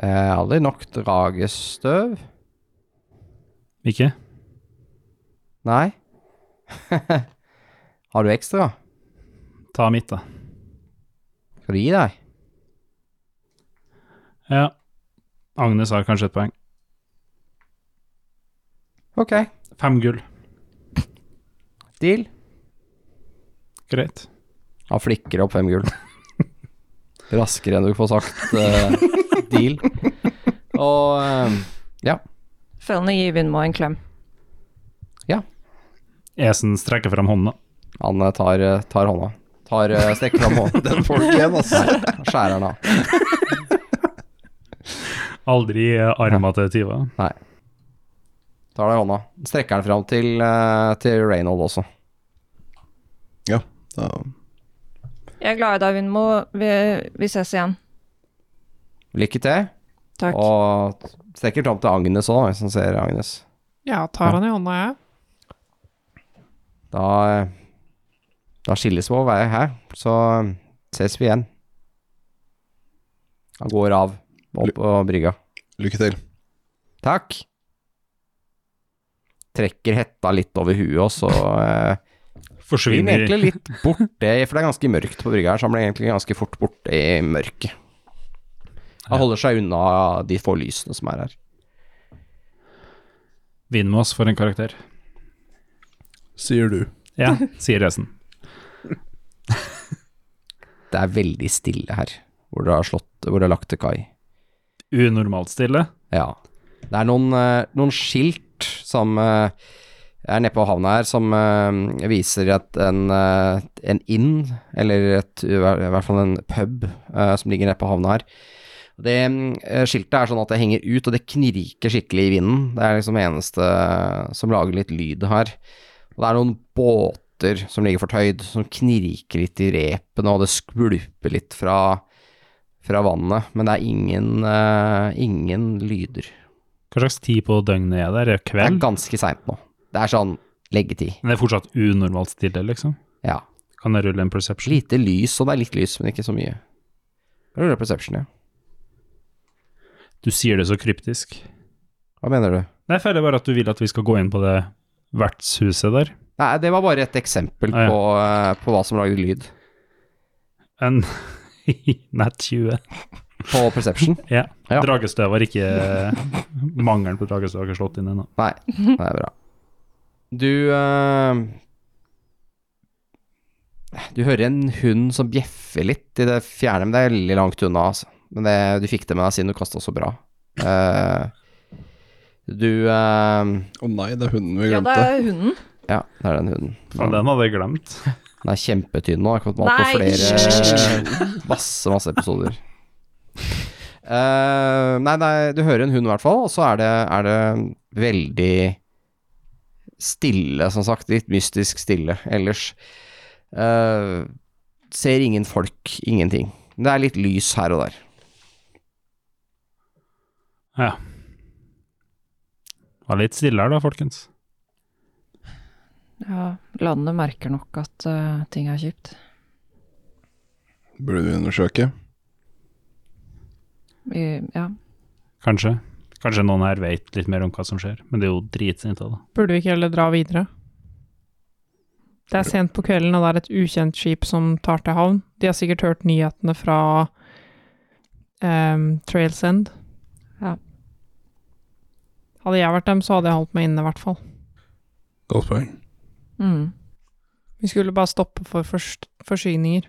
C: eh, aldri nok dragestøv.
E: Ikke?
C: Nei. Har du ekstra?
E: Ta mitt, da.
C: Skal du gi deg?
E: Ja. Agnes har kanskje et poeng.
C: Ok,
E: Fem gull.
C: deal.
E: Greit.
C: Han flikker opp fem gull. Raskere enn du får sagt eh, deal. Og eh, Ja.
B: Felny gir Vindmo en klem.
E: Esen strekker fram hånda.
C: Han eh, tar, eh, tar hånda. Tar, eh, strekker fram hånda. Den får du ikke igjen, altså. Skjærer den av.
E: Aldri eh, arma til Tiva.
C: Tar deg i hånda. Strekker den fram til, eh, til Reynold også.
H: Da,
B: Jeg er glad i deg, Vindmo. Vi, vi ses igjen.
C: Lykke til.
B: Takk.
C: Og strekker fram til Agnes òg, hvis han ser Agnes.
G: Ja, tar han i hånda, jeg.
C: Da, eh, da skilles vi over her, så eh, ses vi igjen. Han går av opp på brygga.
H: lykke til.
C: Takk. Trekker hetta litt over huet, og så eh, blir den
E: Forsvinner
C: egentlig litt borte, for det er ganske mørkt på brygga her, så han blir egentlig ganske fort borte i mørket. Han holder seg unna de få lysene som er her.
E: Vindmås for en karakter.
F: sier du.
E: Ja, sier Esen.
C: Det er veldig stille her, hvor det har slått, hvor det har lagt til kai.
E: Unormalt stille.
C: Ja. Det er noen, eh, noen skilt som eh, er nede på havna her, som eh, viser at en, eh, en inn, eller et, i hvert fall en pub, eh, som ligger nede på havna her. Det eh, skiltet er sånn at det henger ut, og det knirker skikkelig i vinden. Det er liksom det eneste eh, som lager litt lyd her. Og det er noen båter som ligger fortøyd, som knirker litt i repene, og det skvulper litt fra fra vannet, men det er ingen, eh, ingen lyder.
E: Hva slags tid på døgnet er det? Er det
C: Det er
E: kveld?
C: ganske seint nå. Det er sånn leggetid.
E: Men det er fortsatt unormalt stille, liksom?
C: Ja.
E: Kan jeg rulle en perception?
C: Lite lys, og det er litt lys, men ikke så mye. Hva er det perception, ja?
E: Du sier det så kryptisk.
C: Hva mener du?
E: Nei, Jeg føler bare at du vil at vi skal gå inn på det vertshuset der.
C: Nei, det var bare et eksempel
E: Ah, ja.
C: på, eh, på hva som lager lyd.
E: En nett 20.
C: På perception.
E: Ja.
C: Ja.
E: Dragestøv har ikke Mangelen på dragestøv har ikke slått inn ennå.
C: Nei, det er bra. Du eh, Du hører en hund som bjeffer litt i det fjerne, men det er veldig langt unna, altså. Men det, du fikk det med deg siden du kasta så bra. Eh, du eh,
H: Å nei, det er hunden vi
B: Ja, det
H: glemte.
B: er hunden.
C: Ja, det er den hunden.
E: Faen, den hadde jeg glemt.
C: Den er kjempetynn nå. Jeg har kommet med alt på
B: Nei,
C: flere Masse, masse episoder. Eh, nei, nei, du hører en hund i hvert fall, og så er det, er det veldig stille, som sagt. Litt mystisk stille ellers. Eh, ser ingen folk, ingenting. Det er litt lys her og der.
E: Ja. Var litt stille her, da, folkens.
B: Ja, landet merker nok at eh, ting er kjipt.
H: Burde vi undersøke?
B: Vi, ja.
E: Kanskje. Kanskje noen her vet litt mer om hva som skjer, men det er jo dritsint av det.
G: Burde vi ikke heller dra videre? Det er sent på kvelden, og det er et ukjent skip som tar til havn. De har sikkert hørt nyhetene fra ehm, Trails End.
B: Ja.
G: Hadde jeg vært dem, så hadde jeg holdt meg inne, i hvert fall.
F: Godt poeng.
B: Mm.
G: Vi skulle bare stoppe for fors forsyninger.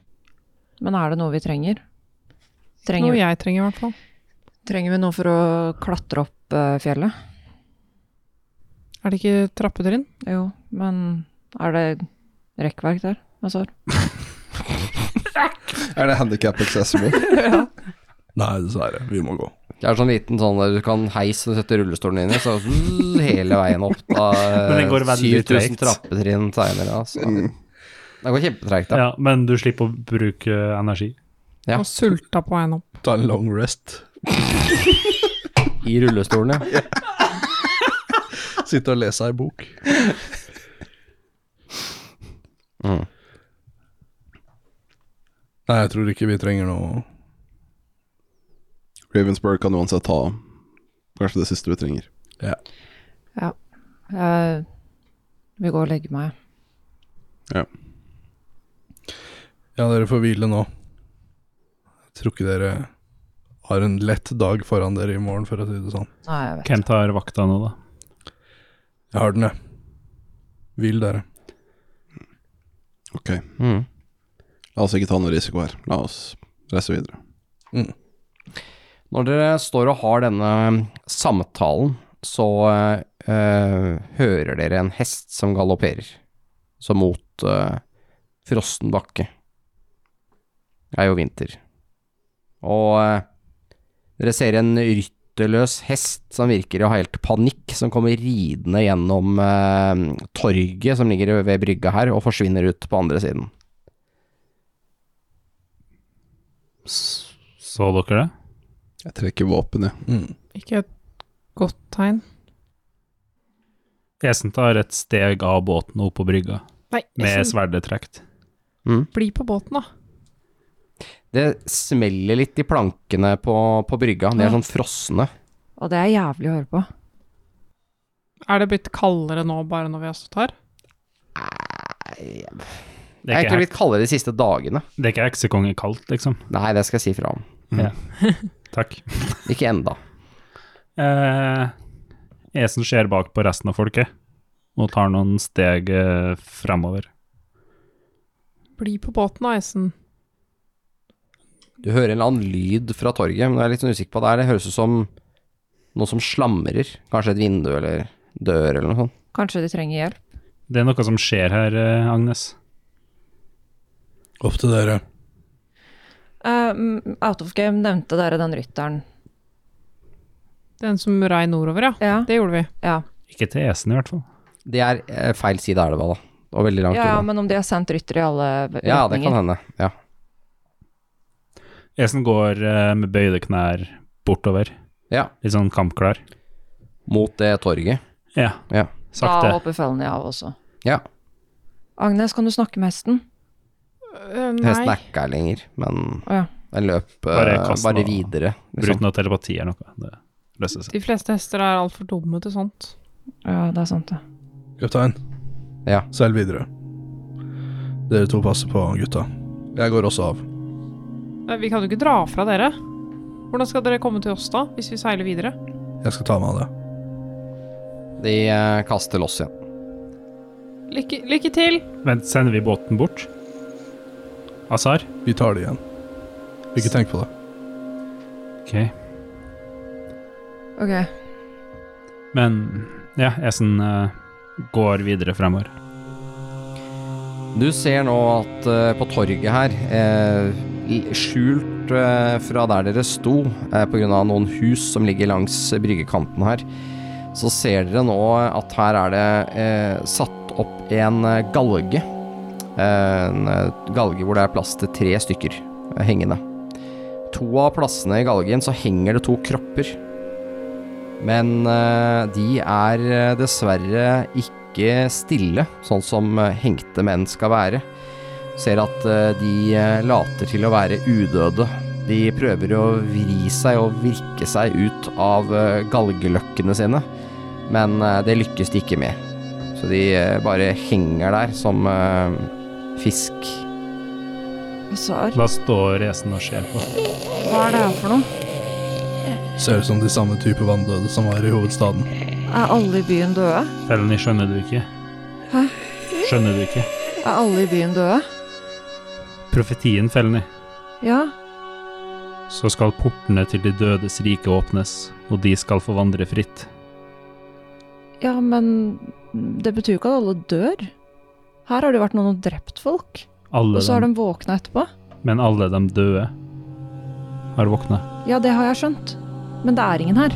B: Men er det noe vi trenger?
G: Noe
B: Trenger,
G: jeg trenger, i hvert fall.
B: trenger vi noe for å klatre opp eh, fjellet?
G: Er det ikke trappetrinn?
B: Jo, men er det rekkverk der? Altså,
H: Er det handicap accessible?
F: Nei, dessverre. Vi må gå.
C: Det er sånn liten sånn der du kan heis og sette rullestolen inn i, så zzz, hele veien opp da
E: Men den går veldig
C: 7000
E: tregt. Mm.
C: trappetrinn seinere, altså. Det går kjempetregt,
E: Ja.
C: da.
E: men du slipper å bruke eh, energi.
C: Ja.
G: Og sulta på veien opp.
F: Ta en long rest.
C: I rullestolen, ja.
F: Sitte og lese ei bok.
C: Mm.
F: Nei, jeg tror ikke vi trenger noe
H: Ravensburg kan uansett ta kanskje det siste vi trenger.
B: jeg vil gå og legge meg.
F: Ja, dere får hvile nå. Jeg tror ikke dere har en lett dag foran dere i morgen, for å si det sånn.
B: Nei, jeg vet.
E: Hvem tar vakta nå, da?
F: Jeg har den, jeg. Hvil dere.
H: Ok,
C: Mm.
H: la oss ikke ta noe risiko her. La oss reise videre.
C: Når dere står og har denne samtalen, så eh, hører dere en hest som galopperer, så mot eh, frossen bakke. Det er jo vinter. Og eh, dere ser en rytterløs hest som virker å ha helt panikk, som kommer ridende gjennom eh, torget som ligger ved brygga her, og forsvinner ut på andre siden.
E: S- Så dere det?
H: Jeg trekker våpen, jeg.
G: Ikke et godt tegn.
E: Esen tar et steg av båten og opp på brygga,
G: Nei,
E: med
G: Esen,
E: sverdet trukket.
G: bli på båten, da.
C: Det smeller litt i plankene på, på brygga, de er sånn frosne.
B: Og det er jævlig å høre på.
G: Er det blitt kaldere nå, bare når vi har stått her?
E: Det er
C: Det er
E: ikke,
C: egentlig blitt kaldere de siste dagene.
E: hek- det er ikke heksekonge kaldt, liksom.
C: Nei, det skal jeg si fra om.
E: Takk.
C: Ikke enda.
E: Eh, Esen ser bak på resten av folket og tar noen steg eh, fremover.
G: Bli på båten, da, Esen.
C: Du hører en eller annen lyd fra torget, men jeg er litt sånn usikker på det her. Det høres ut som noe som slamrer. Kanskje et vindu eller dør eller noe sånt.
B: Kanskje de trenger hjelp.
E: Det er noe som skjer her, eh, Agnes.
F: Opp til dere.
B: Um, out of game nevnte dere den rytteren.
G: Den som rei nordover, ja.
B: Ja.
G: Det gjorde vi.
B: Ja.
E: Ikke til Esen, i hvert fall.
C: Det er eh, feil side av elva, da. Og veldig langt
B: ja, ja,
C: unna.
B: men om de har sendt rytter i alle v- retninger.
C: Ja, det kan hende. Ja.
E: Esen går eh, med bøyde knær bortover,
C: ja.
E: litt sånn kampklar.
C: Mot det torget.
E: Ja,
C: Ja.
B: Da
E: sakte.
B: hopper fellene av også.
C: ja.
B: Agnes, kan du snakke med hesten?
G: Øh,
C: Hesten
G: nei.
C: er ikke her lenger, men
B: Å ja.
C: den løp eh,
E: Bare
C: bare,
E: kast den av.
C: videre.
E: Bruk
C: Liksom.
E: noe telepati eller noe. Det løser seg.
G: De fleste hester er altfor dumme til sånt.
B: ja, det er sant, det.
F: Kaptein.
C: Ja.
F: Seil videre. Dere to passer på gutta. Jeg går også av.
G: Nei, Eh, Vi kan jo ikke dra fra dere. Hvordan skal dere komme til oss da, hvis vi seiler videre?
F: Jeg skal ta meg av det.
C: De eh, kaster loss igjen.
G: Lykke, lykke til!
E: Men sender vi båten bort? Azar?
F: Vi tar det igjen. Ikke tenk på det.
E: Ok.
B: Ok.
E: Men ja, Esen eh, går videre fremover.
C: Du ser nå at eh, på torget her, eh, l- skjult eh, fra der dere sto, eh, pga. noen hus som ligger langs eh, bryggekanten her, så ser dere nå at her er det eh, satt opp en eh, galge. Eh, En eh, galge hvor det er plass til tre stykker eh, hengende. To av plassene i galgen så henger det to kropper. Men eh, de er eh, dessverre ikke stille, sånn som eh, hengte menn skal være. Ser at eh, de eh, later til å være udøde. De prøver å vri seg og virke seg ut av eh, galgeløkkene sine, men eh, det lykkes de ikke med. Så de eh, bare henger der som eh, fisk.
B: Svar.
E: Da står Esen og ser på.
B: Hva er det her for noe?
F: Ser ut som de samme type vanndøde som var i hovedstaden.
B: Er alle i byen døde?
E: Felony, skjønner du ikke? Skjønner du ikke?
B: Er alle i byen døde?
E: Profetien, Felony.
B: Ja.
E: Så skal portene til de dødes rike åpnes, og de skal få vandre fritt.
B: Ja, men det betyr jo ikke at alle dør. Her har det jo vært noen som har drept folk,
E: Alle
B: og så har
E: dem,
B: de våkna etterpå.
E: men alle de døde har våkna.
B: Ja, det har jeg skjønt. Men det er ingen her.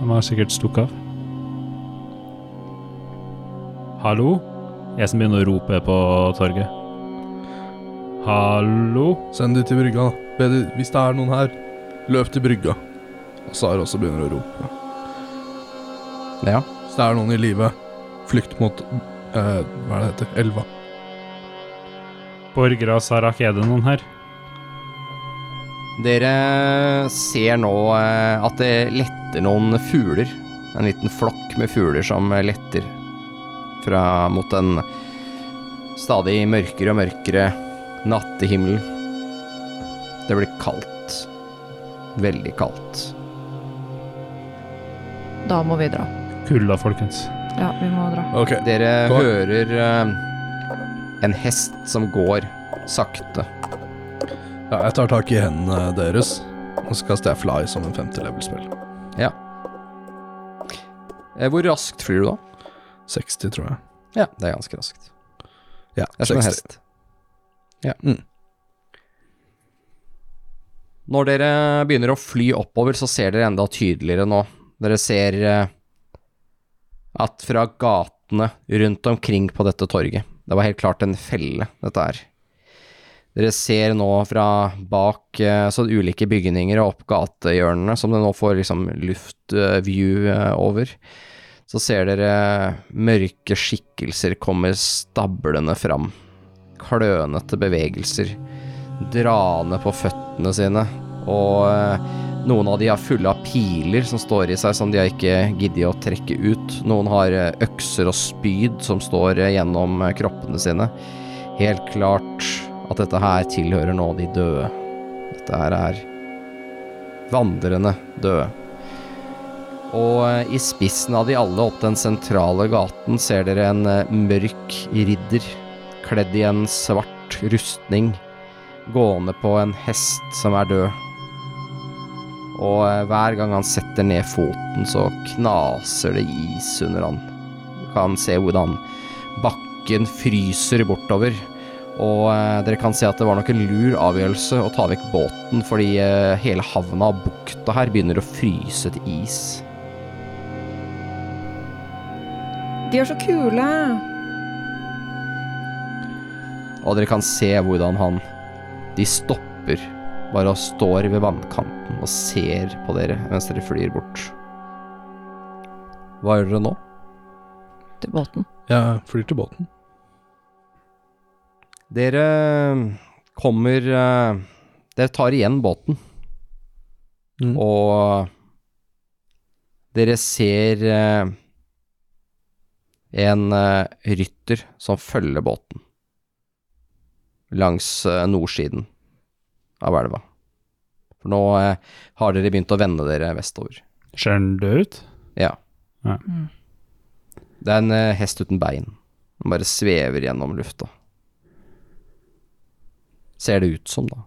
E: De har sikkert stukket av. Hallo? Jeg som begynner å rope på torget. Hallo?
F: Send de til brygga, da. Be de, hvis det er noen her, løp til brygga. Og Sara også begynner å rope.
C: Ja.
F: Hvis det er noen i live, flykt mot eh, Hva er det heter? Elva.
E: Borgere av Sarak, er det noen her?
C: Dere ser nå eh, at det letter noen fugler. En liten flokk med fugler som letter fra mot den stadig mørkere og mørkere nattehimmelen. Det blir kaldt. Veldig kaldt.
B: Da må vi dra.
E: Kulda, folkens.
B: Ja, vi må dra.
F: Ok.
C: Dere
F: Hva?
C: hører eh, en hest som går sakte.
F: Ja, jeg tar tak i hendene deres Og så kaster jeg fly som en femte level-spill.
C: Eh, Hvor raskt flyr du da?
F: 60, tror jeg.
C: Ja, det er ganske raskt.
F: Ja,
C: Det er som en
F: 60.
C: hest. Ja.
F: Mm.
C: Når dere begynner å fly oppover, så ser dere enda tydeligere nå. Dere ser eh, at fra gatene rundt omkring på dette torget Det var helt klart en felle, dette her. Dere ser nå fra bak eh, så ulike bygninger og opp gatehjørnene, som dere nå får liksom luftview eh, over så ser dere mørke skikkelser kommer stablende fram. Klønete bevegelser, draende på føttene sine, og eh, noen av de er fulle av piler som står i seg, som de har ikke giddet å trekke ut. Noen har eh, økser og spyd som står eh, gjennom eh, kroppene sine. Helt klart at dette her tilhører nå de døde. Dette her er vandrende døde. Og eh, i spissen av de alle opp den sentrale gaten ser dere en eh, mørk ridder kledd i en svart rustning gående på en hest som er død. Og eh, hver gang han setter ned foten, så knaser det is under han. Du kan se hvordan bakken fryser bortover. Og eh, dere kan se at det var nok en lur avgjørelse å ta vekk båten, fordi eh, hele havna og bukta her begynner å fryse til is.
B: De er så kule!
C: og dere kan se hvordan han De stopper, bare og står ved vannkanten og ser på dere mens dere flyr bort. Hva gjør dere nå?
B: Til båten.
F: Jeg flyr til båten.
C: Dere eh, kommer eh, Dere tar igjen båten,
F: Mm.
C: og dere ser eh, en eh, rytter som følger båten langs eh, nordsiden av elva. For nå eh, har dere begynt å vende dere vestover.
E: Ser den død ut?
C: Ja.
E: Ja.
C: Det er en eh, hest uten bein. Den bare svever gjennom lufta. Ser det ut som, da.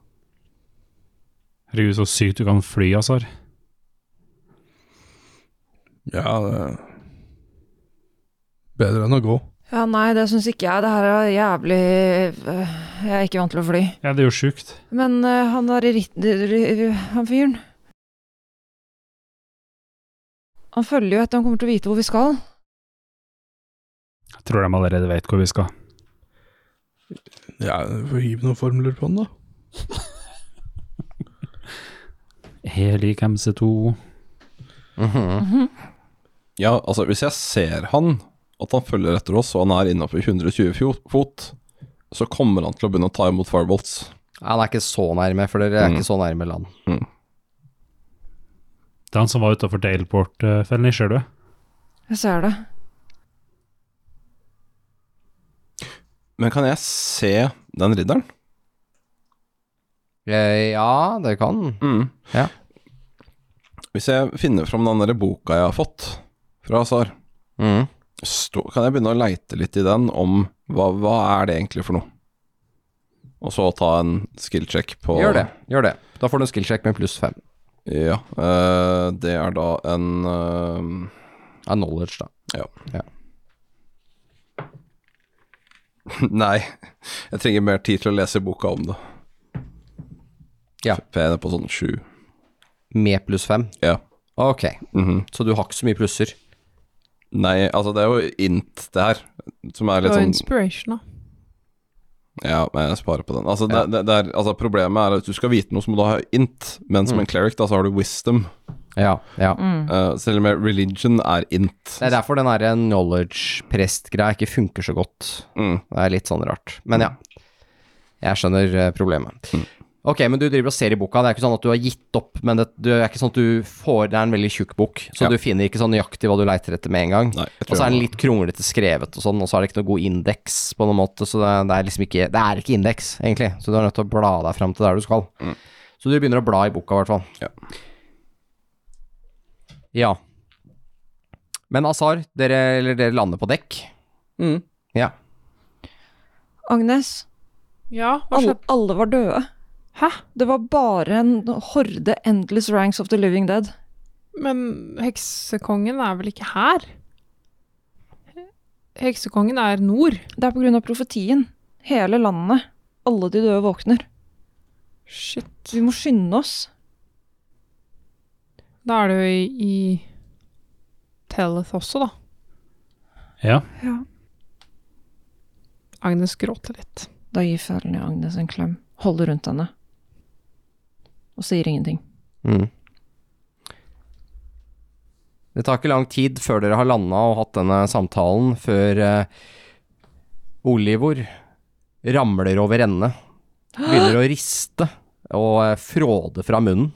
E: Herregud, så sykt du kan fly, Azar.
F: Ja, det er Bedre enn å gå.
B: Ja, nei, det syns ikke jeg. Det her er jævlig øh, Jeg er ikke vant til å fly.
E: Ja, det er jo sjukt.
B: Men øh, han der i ritt... Han fyren Han følger jo etter, han kommer til å vite hvor vi skal.
E: Jeg tror de allerede vet hvor vi skal.
F: Ja, Få hive noen formler på den, da.
E: Helik MC2.
H: Ja, altså, hvis jeg ser han, at han følger etter oss, og han er innafor 120 fjo- fot, så kommer han til å begynne å ta imot firebolts.
C: Han er ikke så nærme, for dere er
H: Mm.
C: ikke så nærme land.
E: Det er han som var utafor Daleport-fellen, eh, ser du?
B: Jeg ser det.
H: Men kan jeg se den ridderen?
C: Eh, Ja, det kan Ja.
H: Mm. Hvis jeg finner fram den der boka jeg har fått fra Azar,
C: Mhm.
H: Mm. stå, kan jeg begynne å leite litt i den om hva, hva er det egentlig for noe? Og så ta en skill check på
C: Gjør det. Gjør det. Da får du en skill check med pluss fem.
H: Ja. eh, det er da en eh,
C: Det er knowledge, da.
H: Nei, jeg trenger mer tid til å lese boka om det.
C: Ja.
H: For jeg er nede på sånn sju.
C: Med pluss fem.
H: Ja.
C: Ok,
H: Mhm.
C: så du har ikke så mye plusser.
H: Nei, altså det er jo int, det her. Som er
G: Og
H: litt sånn
G: inspiration, da.
H: Ja, men jeg sparer på den. Altså, det, det, det er, altså Problemet er at hvis du skal vite noe, så må du ha int. Men
C: Mm.
H: som en cleric, da, så har du wisdom.
C: Ja, ja.
H: Eh, selv om religion er int.
C: Mm. Det er derfor den derre knowledge-prest-greia ikke funker så godt.
H: Mm.
C: Det er litt sånn rart. Men ja, jeg skjønner eh, problemet.
H: Mm.
C: Ok, men du driver og ser i boka. Det er ikke sånn at du har gitt opp, men det, det er ikke sånn at du får Det er en veldig tjukk bok, så
H: Ja.
C: du finner ikke sånn nøyaktig hva du leiter etter med en gang.
H: Nei, jeg
C: Og
H: tror
C: så er
H: jeg-
C: den litt kronglete skrevet og sånn, og så er det ikke noe god indeks på noen måte, så det, det er liksom ikke Det er ikke indeks, egentlig, så du er nødt til å bla deg fram til der du skal. Så du begynner å bla i boka, i hvert fall.
H: Mm. Ja.
C: Ja. Men Azar, dere, eller dere lander på dekk. Ja.
B: Agnes,
G: Ja, hva
B: alle,
G: skjedde?
B: alle var døde.
G: Hæ?
B: Det var bare en horde endless ranks of the living dead.
G: Men heksekongen er vel ikke her? Heksekongen er nord.
B: Det er på grunn av profetien. Hele landet. Alle de døde våkner.
G: Shit.
B: Vi må skynde oss.
G: Da er det jo i, i Teleth også, da.
E: Ja.
B: Ja.
G: Agnes gråter litt.
B: Da gir Ferdinand Agnes en klem, holder rundt henne og sier ingenting.
C: Mm. Det tar ikke lang tid før dere har landa og hatt denne samtalen, før eh, Olivor ramler over ende. Begynner å riste og eh, fråde fra munnen.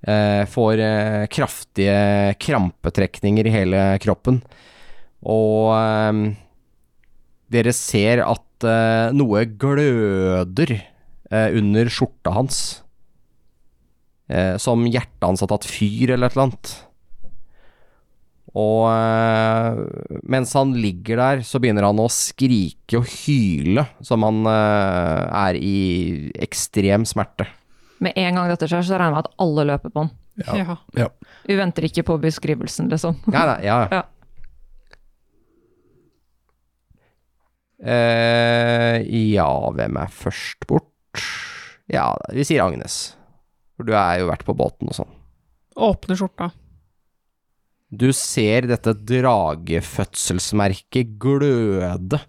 C: Eh, får eh, kraftige krampetrekninger i hele kroppen. Og eh, dere ser at eh, noe gløder eh, under skjorta hans eh, som hjertet hans har tatt fyr eller et eller annet. Og eh, mens han ligger der, så begynner han å skrike og hyle, som han eh, er i ekstrem smerte.
B: Med en gang dette skjer, så regner jeg med at alle løper på den.
F: Ja.
G: Ja.
B: Vi venter ikke på beskrivelsen, liksom.
C: Nei, nei, ja, ja.
B: Ja.
C: Eh, ja, hvem er først bort? Ja, vi sier Agnes. For du er jo vært på båten og sånn.
G: Åpner skjorta.
C: Du ser dette dragefødselsmerket gløde.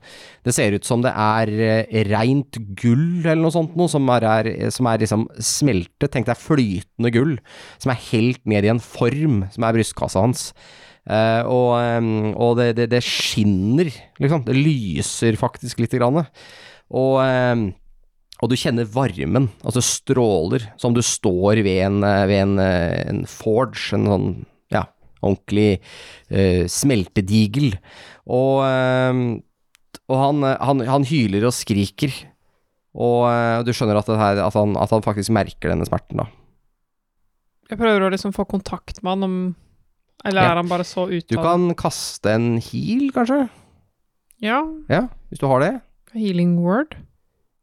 C: Det ser ut som det er eh, rent gull eller noe sånt, noe som er, er, som er liksom smeltet. Tenk deg flytende gull som er helt ned i en form, som er brystkassa hans. Eh, og eh, og det, det, det skinner, liksom. Det lyser faktisk lite grann. Og eh, og du kjenner varmen, altså stråler, som du står ved en, eh, ved en, eh, en forge, en sånn, ja, ordentlig eh, smeltedigel. Og, eh, og han, eh, han, han hyler og skriker, og eh, du skjønner at, det her, at, han, at han faktisk merker denne smerten da.
G: Jeg prøver å liksom få kontakt med han om Eller
C: Ja.
G: er han bare så
C: Du
G: uttalt?
C: kan kaste en heal, kanskje?
G: Ja.
C: Ja, hvis du har det.
G: Healing word.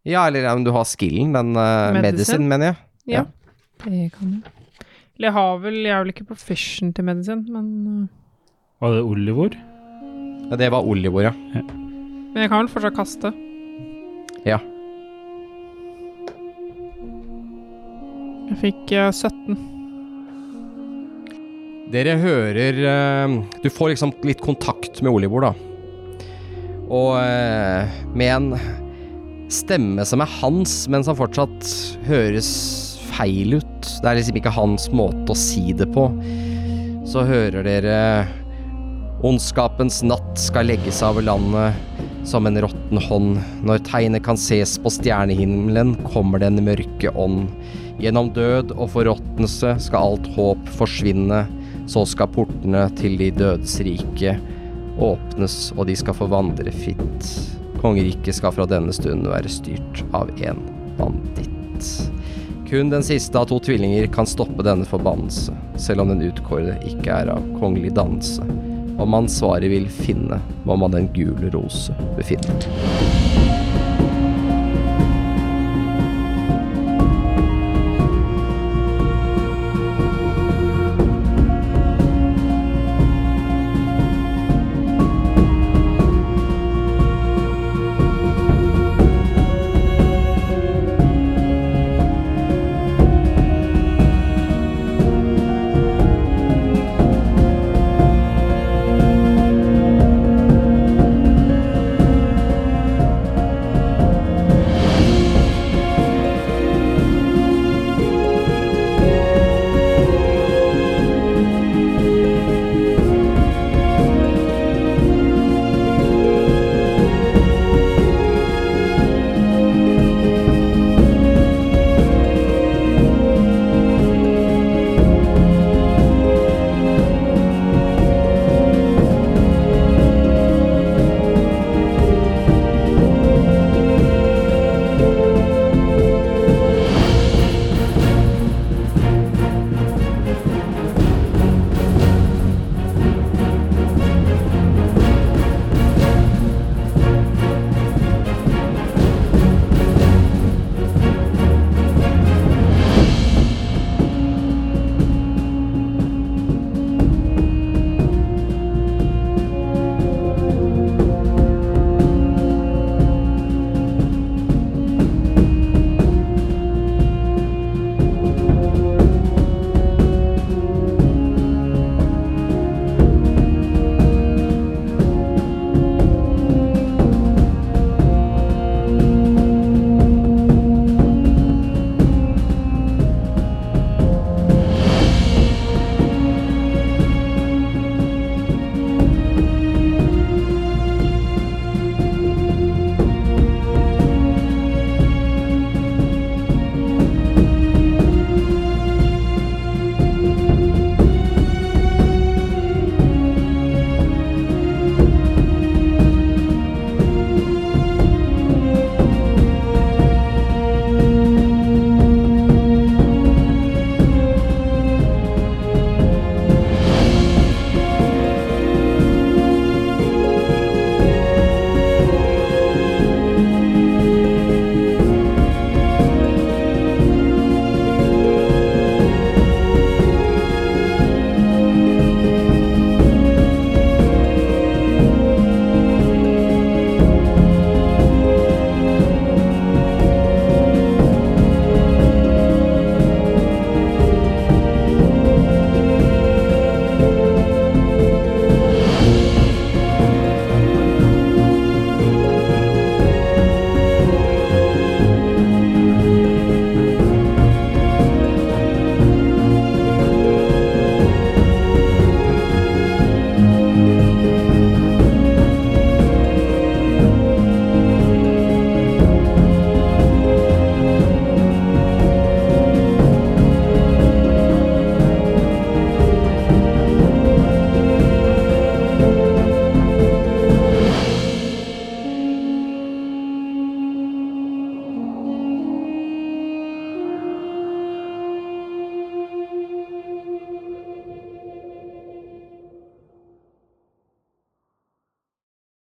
C: Ja, eller ja, om du har skillen, den eh,
G: Medicine?
C: medicine, mener jeg.
G: Ja. Det kan jeg. Eller jeg har vel Jeg er vel ikke proficient i medisin, men øh,
E: Var det Olivor?
C: Ja, det var Olivor, ja.
G: Men jeg kan vel fortsatt kaste.
C: Ja.
G: Jeg fikk øh, 17.
C: Dere hører eh, Du får liksom litt kontakt med Olivor, da. Og eh, med en stemme som er hans, men som fortsatt høres feil ut. Det er liksom ikke hans måte å si det på. Så hører dere Ondskapens natt skal legge seg over landet som en råtten hånd. Når tegnet kan ses på stjernehimmelen, kommer den mørke ånd. Gjennom død og forråtnelse skal alt håp forsvinne. Så skal portene til de dødes rike åpnes, og de skal få vandre fritt. Kongeriket skal fra denne stunden være styrt av en banditt. Kun den siste av to tvillinger kan stoppe denne forbannelse, selv om den utkårede ikke er av kongelig dannelse. Om man svaret vil finne, må man den gule rose befinne.